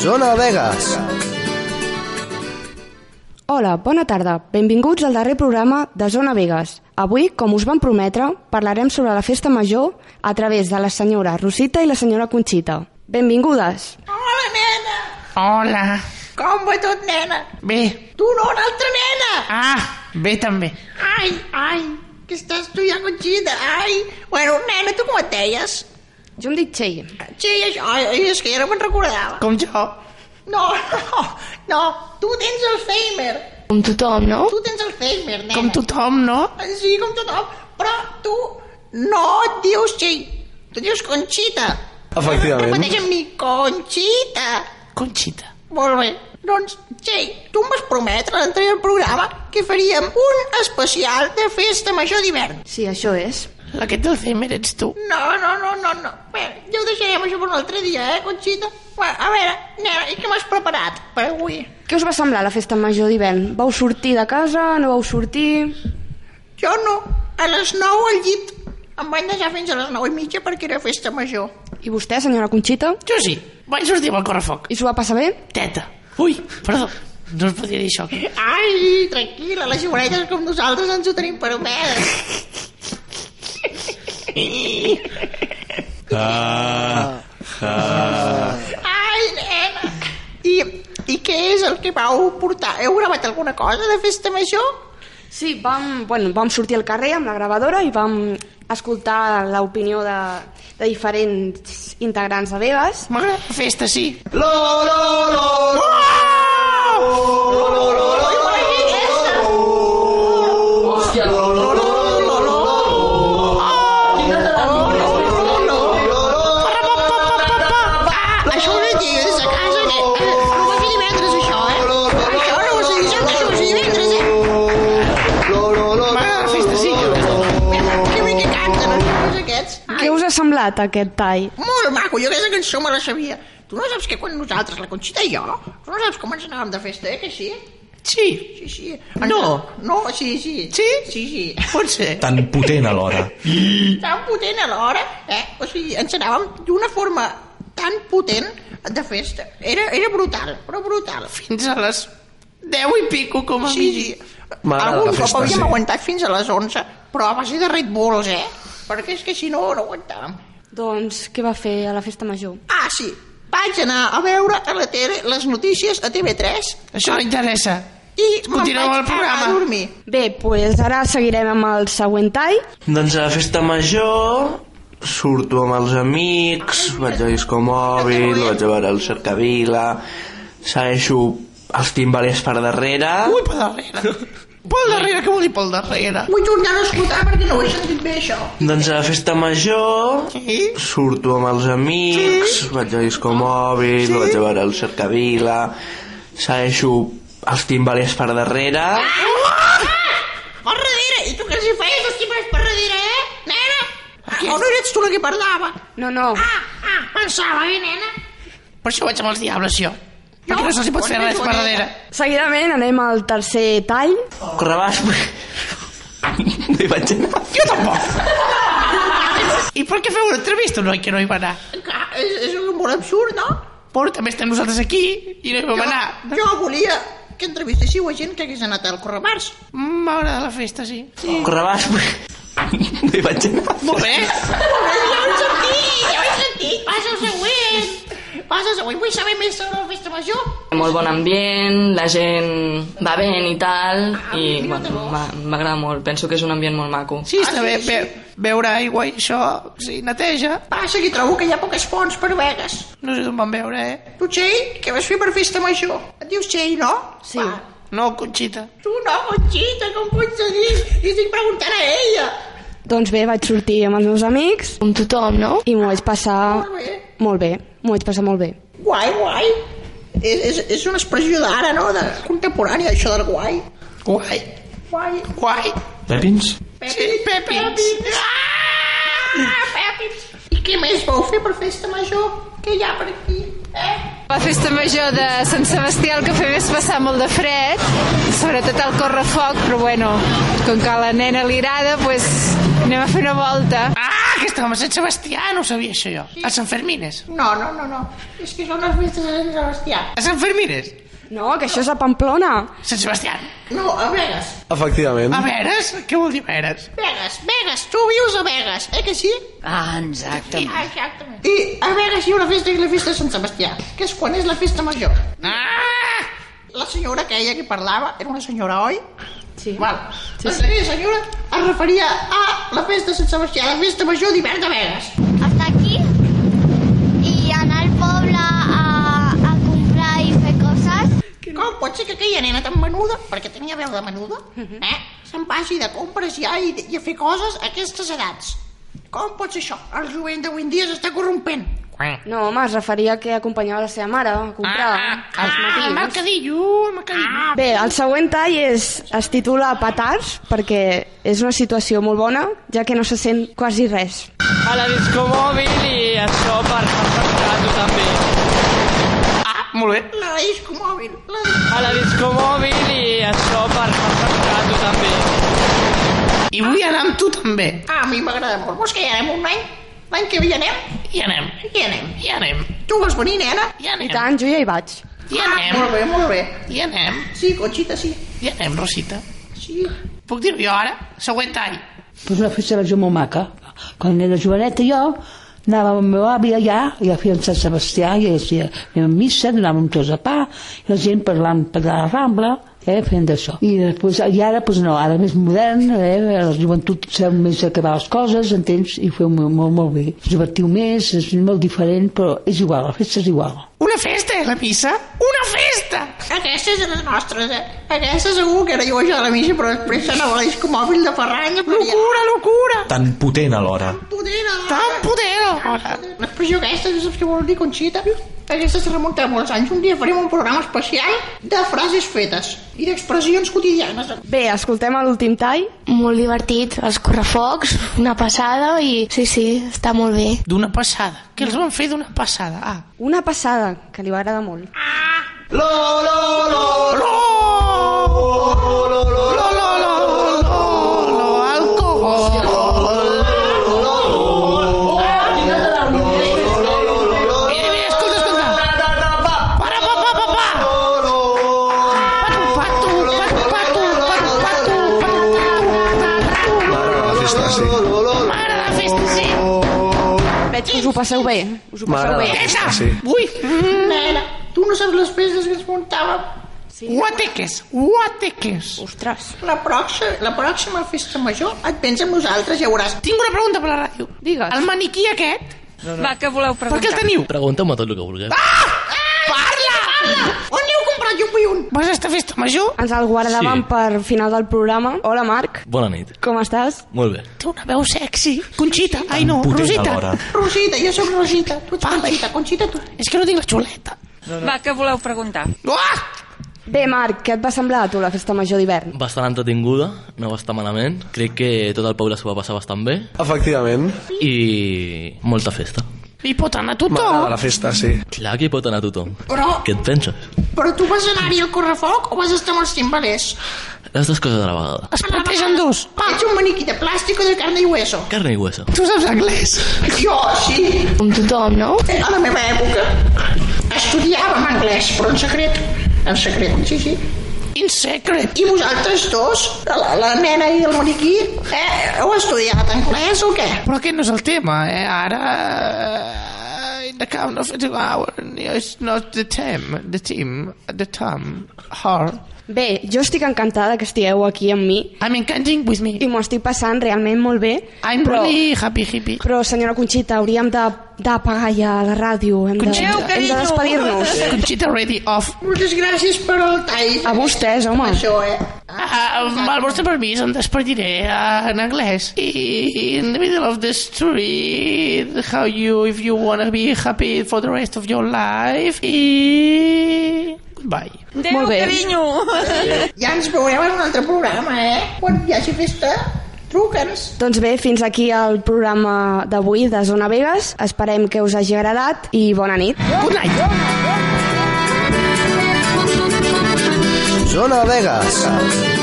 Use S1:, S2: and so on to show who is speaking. S1: Zona Vegas.
S2: Hola, bona tarda. Benvinguts al darrer programa de Zona Vegas. Avui, com us vam prometre, parlarem sobre la festa major a través de la senyora Rosita i la senyora Conxita. Benvingudes!
S3: Hola, nena!
S4: Hola.
S3: Com va tot, nena?
S4: Bé.
S3: Tu no, una altra nena!
S4: Ah, bé també.
S3: Ai, ai, que estàs tu ja conxida, ai! Bueno, nena, tu com et deies?
S2: Jo em dic Txell.
S3: Sí, això, ai, ai, és que ja no me'n recordava.
S4: Com jo.
S3: No, no, no, tu tens Alzheimer,
S5: Com tothom, no?
S3: tu tens Alzheimer, nena.
S4: Com tothom, no?
S3: Sí, com tothom, però tu no et dius sí, tu dius Conxita.
S1: Efectivament.
S3: Repeteix amb mi, Conxita.
S4: Conxita.
S3: Molt bé. Doncs, Txell, tu em vas prometre a l'anterior programa que faríem un especial de festa major d'hivern.
S2: Sí, això és.
S4: La que té Alzheimer ets tu.
S3: No, no, no, no, no. Bé, ja ho deixarem això per un altre dia, eh, Conxita? Bueno, a veure, nena, i què m'has preparat per avui?
S2: Què us va semblar la festa major d'hivern? Vau sortir de casa? No vau sortir?
S3: Jo no. A les 9 al llit. Em vaig deixar fins a les 9 i mitja perquè era festa major.
S2: I vostè, senyora Conxita?
S4: Jo sí. Vaig sortir amb el correfoc.
S2: I s'ho va passar bé?
S4: Teta. Ui, perdó. No es podia dir això. aquí.
S3: Ai, tranquil·la, les xiboletes com nosaltres ens ho tenim permeses. Ai, nena! I, I què és el que vau portar? Heu gravat alguna cosa de festa major?
S2: Sí, vam, bueno, vam sortir al carrer amb la gravadora i vam escoltar l'opinió de, de diferents integrants de Vegas.
S4: M'agrada la festa, sí.
S3: Això ho digues a casa, eh? No va fer divendres, això, eh? Això no us ho dic, això us ho divendres, eh?
S4: M'agrada la festa, sí.
S3: Que bé que canten els joves aquests.
S2: Què us ha semblat aquest tall?
S3: Molt maco, jo aquesta cançó me la sabia. Tu no saps que quan nosaltres, la Conxita i jo, tu no saps com ens anàvem de festa, eh, que sí?
S4: Sí.
S3: Sí, sí.
S4: No.
S3: No, sí, sí.
S4: Sí?
S3: Sí, sí.
S4: Pot ser.
S6: tan potent alhora.
S3: tan potent alhora, eh? O sigui, ens anàvem d'una forma tan potent de festa. Era, era brutal, però brutal.
S4: Fins a les 10 i pico, com a
S3: Sí,
S4: mínim.
S3: sí.
S1: M'agrada
S3: Algun
S1: la
S3: cop
S1: festa,
S3: havíem
S1: sí.
S3: aguantat fins a les 11, però a base de Red Bulls, eh? Perquè és que si no, no aguantàvem.
S2: Doncs què va fer a la festa major?
S3: Ah, sí, vaig anar a veure a la tele les notícies a TV3
S4: Això m'interessa.
S3: i me'n
S4: Continuem el
S3: vaig anar
S4: programa.
S3: a dormir.
S2: Bé, doncs ara seguirem amb el següent tall.
S7: Doncs a la festa major surto amb els amics, vaig a disco mòbil, vaig a veure el cercavila, segueixo els timbalers per darrere.
S4: Ui, pel darrere. Pel darrere, què vol dir pel darrere?
S3: Vull tornar a escoltar perquè no ho he sentit bé, això.
S7: Doncs a la festa major
S4: Sí?
S7: surto amb els amics, vaig a disco mòbil, vaig a veure el cercavila, segueixo els timbalers per darrere.
S3: Ah! Per darrere, Ah! i tu què els hi feies els timbres per darrere, eh? Nena? Ah, o no eres tu la que parlava?
S2: No, no,
S3: Ah, ah, pensava, eh, nena?
S4: Per això vaig amb els diables, jo. Perquè no se'ls hi pot fer res per darrere.
S2: seguidament anem al tercer tall.
S7: Correbàs... No hi vaig anar.
S4: Jo tampoc. I per què feu una entrevista un noi que no hi va anar?
S3: Ah, és, és un humor absurd, no?
S4: Però també estem nosaltres aquí i no hi vam anar.
S3: Jo volia que entrevistéssiu a gent que hagués anat al Correbars.
S4: M'agrada la festa, sí. sí.
S7: Correbàs... No hi vaig anar.
S4: Molt bé.
S3: Ja ho he sentit, ja ho he sentit. Passa el següent. Passa el següent. Vull saber més sobre la festa major.
S5: Molt bon ambient, la gent va ben i tal, i bueno, m'a- m'agrada molt, penso que és un ambient molt maco.
S4: Sí,
S3: Ah,
S4: està
S3: sí,
S4: bé
S3: sí.
S4: be beure aigua i això, sí, neteja.
S3: Passa que trobo que hi ha poques fonts per Vegas.
S4: No sé d'on van veure, eh?
S3: Tu, Txell, què vas fer per festa major? Et dius Txell, no?
S2: Sí.
S3: Va,
S4: No, Conxita.
S3: tu no, Conxita, com pots dir? I estic preguntant a ella.
S2: Doncs bé, vaig sortir amb els meus amics
S5: Com tothom, no?
S2: i m'ho vaig passar
S3: Molt bé.
S2: molt bé. M'ho vaig passar molt bé.
S3: Guai, guai. És, és, és una expressió d'ara, no? De contemporània, això del guai.
S4: Guai.
S3: Guai.
S4: Guai.
S6: Pepins?
S4: Sí, Pepins.
S3: Pepins. Ah, Pepins. I què més vau fer per festa major? Què hi ha per aquí? Eh?
S8: La festa major de Sant Sebastià el que fem és passar molt de fred, sobretot al correfoc, però bueno, com que a la nena li agrada, pues, Anem a fer una volta.
S4: Ah, que estàvem a Sant Sebastià, no ho sabia això jo. A Sant Fermines.
S3: No, no, no, no. És que són les festes de Sant Sebastià.
S4: A Sant Fermines.
S2: No, que això és a Pamplona.
S4: Sant Sebastià.
S3: No, a Vegas.
S1: Efectivament.
S4: A Veres? Què vol dir Veres?
S3: Vegas, Vegas, tu vius a Vegas, eh que sí?
S9: Ah, exacte.
S3: Ah, exactament. I a Vegas hi ha una festa que és la festa de Sant Sebastià, que és quan és la festa major.
S4: Ah!
S3: La senyora aquella que parlava era una senyora, oi? Sí. Val. Sí, sí. La senyora es referia a la festa de Sant Sebastià, la festa major d'hivern de Vegas.
S10: hasta aquí y anar al poble a, a comprar i fer coses.
S3: Com pot ser que aquella nena tan menuda, perquè tenia veu de menuda, eh, se'n vagi de compres ja i, i a fer coses a aquestes edats? Com pot ser això? El jovent d'avui en dia s'està corrompent.
S2: No, home, es referia que acompanyava la seva mare a comprar als matins.
S4: mercadillo, el
S3: Ah,
S4: mercadillo.
S2: Bé, el següent tall és, es titula Petards perquè és una situació molt bona, ja que no se sent quasi res.
S5: A la disco mòbil i això per mercado també.
S4: Ah, molt bé.
S3: La disco mòbil, la
S5: A la disco mòbil i això per mercado també.
S4: I vull anar amb tu també.
S3: Ah, a mi m'agrada molt. Vols que hi anem un any? L'any que ve hi anem?
S4: I anem,
S3: Hi anem.
S4: i anem,
S3: Tu vols venir, nena?
S4: i
S2: I
S4: anem,
S2: tant, jo ja hi vaig.
S4: i anem,
S3: Ah, Molt bé, molt bé.
S4: i anem,
S3: Sí, Conxita, sí.
S4: i anem, Rosita.
S3: Sí.
S4: Puc dir-ho jo ara? Següent tall.
S9: Pues una festa major molt maca. Quan era joveneta jo, anava amb la meva àvia allà, i a feien Sant Sebastià, i els feia a missa, donàvem un tros de pa, i la gent parlant per la Rambla, eh, fent d'això. I, després, I ara, pues no, ara més modern, eh, la joventut sabeu més acabar les coses, entens? I ho feu molt, molt, molt bé. Us divertiu més, és molt diferent, però és igual, la festa és igual.
S4: Una festa, eh, la missa? Una festa!
S3: Aquesta és de les nostres, eh? Aquesta segur que era jo això de la missa, però després s'anava a la disco mòbil de Ferranya. Locura!
S4: Una locura!
S6: Tan potent alhora.
S3: Poder,
S4: Tan potent alhora!
S3: L'expressió aquesta, no saps què vol dir, Conxita? Aquesta se remunta a molts anys. Un dia farem un programa especial de frases fetes i d'expressions quotidianes.
S2: Bé, escoltem l'últim tall.
S10: Molt divertit, els correfocs, una passada i sí, sí, està molt bé.
S4: D'una passada. Que els van fer d'una passada. Ah.
S2: Una passada, que li va agradar molt.
S4: Mira, mira, escolta, escolta. Para, pa, pa, pa, pa. Patu, patu, patu, patu, patu, patu, patu, patu,
S1: M'agrada la festa, sí.
S4: patu. Mare de festa, sí.
S2: Veig que us ho passeu bé. eh? Us ho passeu
S1: M'agrada.
S2: bé.
S4: Teta!
S1: Sí.
S4: Ui!
S3: Nena, tu no saps les peces que ens muntàvem.
S4: Guateques! Guateques!
S2: Ostres.
S3: La pròxima, la pròxima festa major et vens amb nosaltres, ja veuràs.
S4: Tinc una pregunta per la ràdio.
S2: Digues.
S4: El maniquí aquest,
S9: Va, que voleu
S4: per què el teniu? Ah!
S11: Pregunta'm tot el que vulgueu.
S4: Parla!
S3: On l'heu comprat? Jo en vull un.
S4: Vas a esta festa major?
S2: Ens el guardàvem
S11: Sí.
S2: per final del programa. Hola, Marc.
S11: Bona nit.
S2: Com estàs?
S11: Molt bé.
S4: Té una veu sexy. Conxita, ai no,
S6: Potent
S4: Rosita.
S6: alhora.
S3: Rosita, jo sóc Rosita. Tu ets Conxita, Conxita tu.
S4: És que no tinc la xuleta.
S9: Va, que voleu preguntar?
S4: Ah!
S2: Bé, Marc, què et va semblar a tu la festa major d'hivern?
S11: Bastant entretinguda, no va estar malament. Crec que tot el poble s'ho va passar bastant bé.
S1: Efectivament.
S11: I molta festa.
S4: Hi pot anar
S1: M'agrada
S4: tothom.
S1: la festa, sí.
S11: Clar que hi pot anar tothom.
S3: Però,
S11: Què et penses?
S3: però tu vas anar-hi al correfoc o vas estar amb els timbalers?
S11: Les dues coses a la vegada.
S4: Es plantegen dos.
S3: Pa. Ets un maniquí de plàstic o de carne i hueso?
S11: Carne i hueso.
S4: Tu saps anglès?
S3: Jo, sí.
S10: Com tothom, no?
S3: A la meva època estudiàvem anglès, però en secret. En secret, sí, sí.
S4: In secret.
S3: I vosaltres dos, la, la nena i el maniquí, eh, heu estudiat anglès o què?
S4: Però aquest no és el tema, eh? Ara... eh, In the count of two hours, it's eh, not the time, the team, the time, her.
S2: Bé, jo estic encantada que estigueu aquí amb mi
S4: I'm engaging with me.
S2: i m'ho estic passant realment molt bé.
S4: I'm
S2: però,
S4: really happy, hippie.
S2: però, senyora Conxita, hauríem de- d'apagar ja la ràdio. Hem de,
S4: Conxita,
S2: hem de despedir-nos.
S4: Conxita ready off.
S3: Moltes gràcies per el tall.
S2: A vostès, home.
S3: Això, eh?
S4: Uh, amb el vostre permís em despediré uh, en anglès I, in the middle of the street how you if you wanna be happy for the rest of your life i... goodbye
S2: Molt bé.
S3: Ja ens veurem en un altre programa, eh? Quan hi hagi festa, truca'ns.
S2: Doncs bé, fins aquí el programa d'avui de Zona Vegas. Esperem que us hagi agradat i bona nit.
S4: good night
S1: Zona Vegas.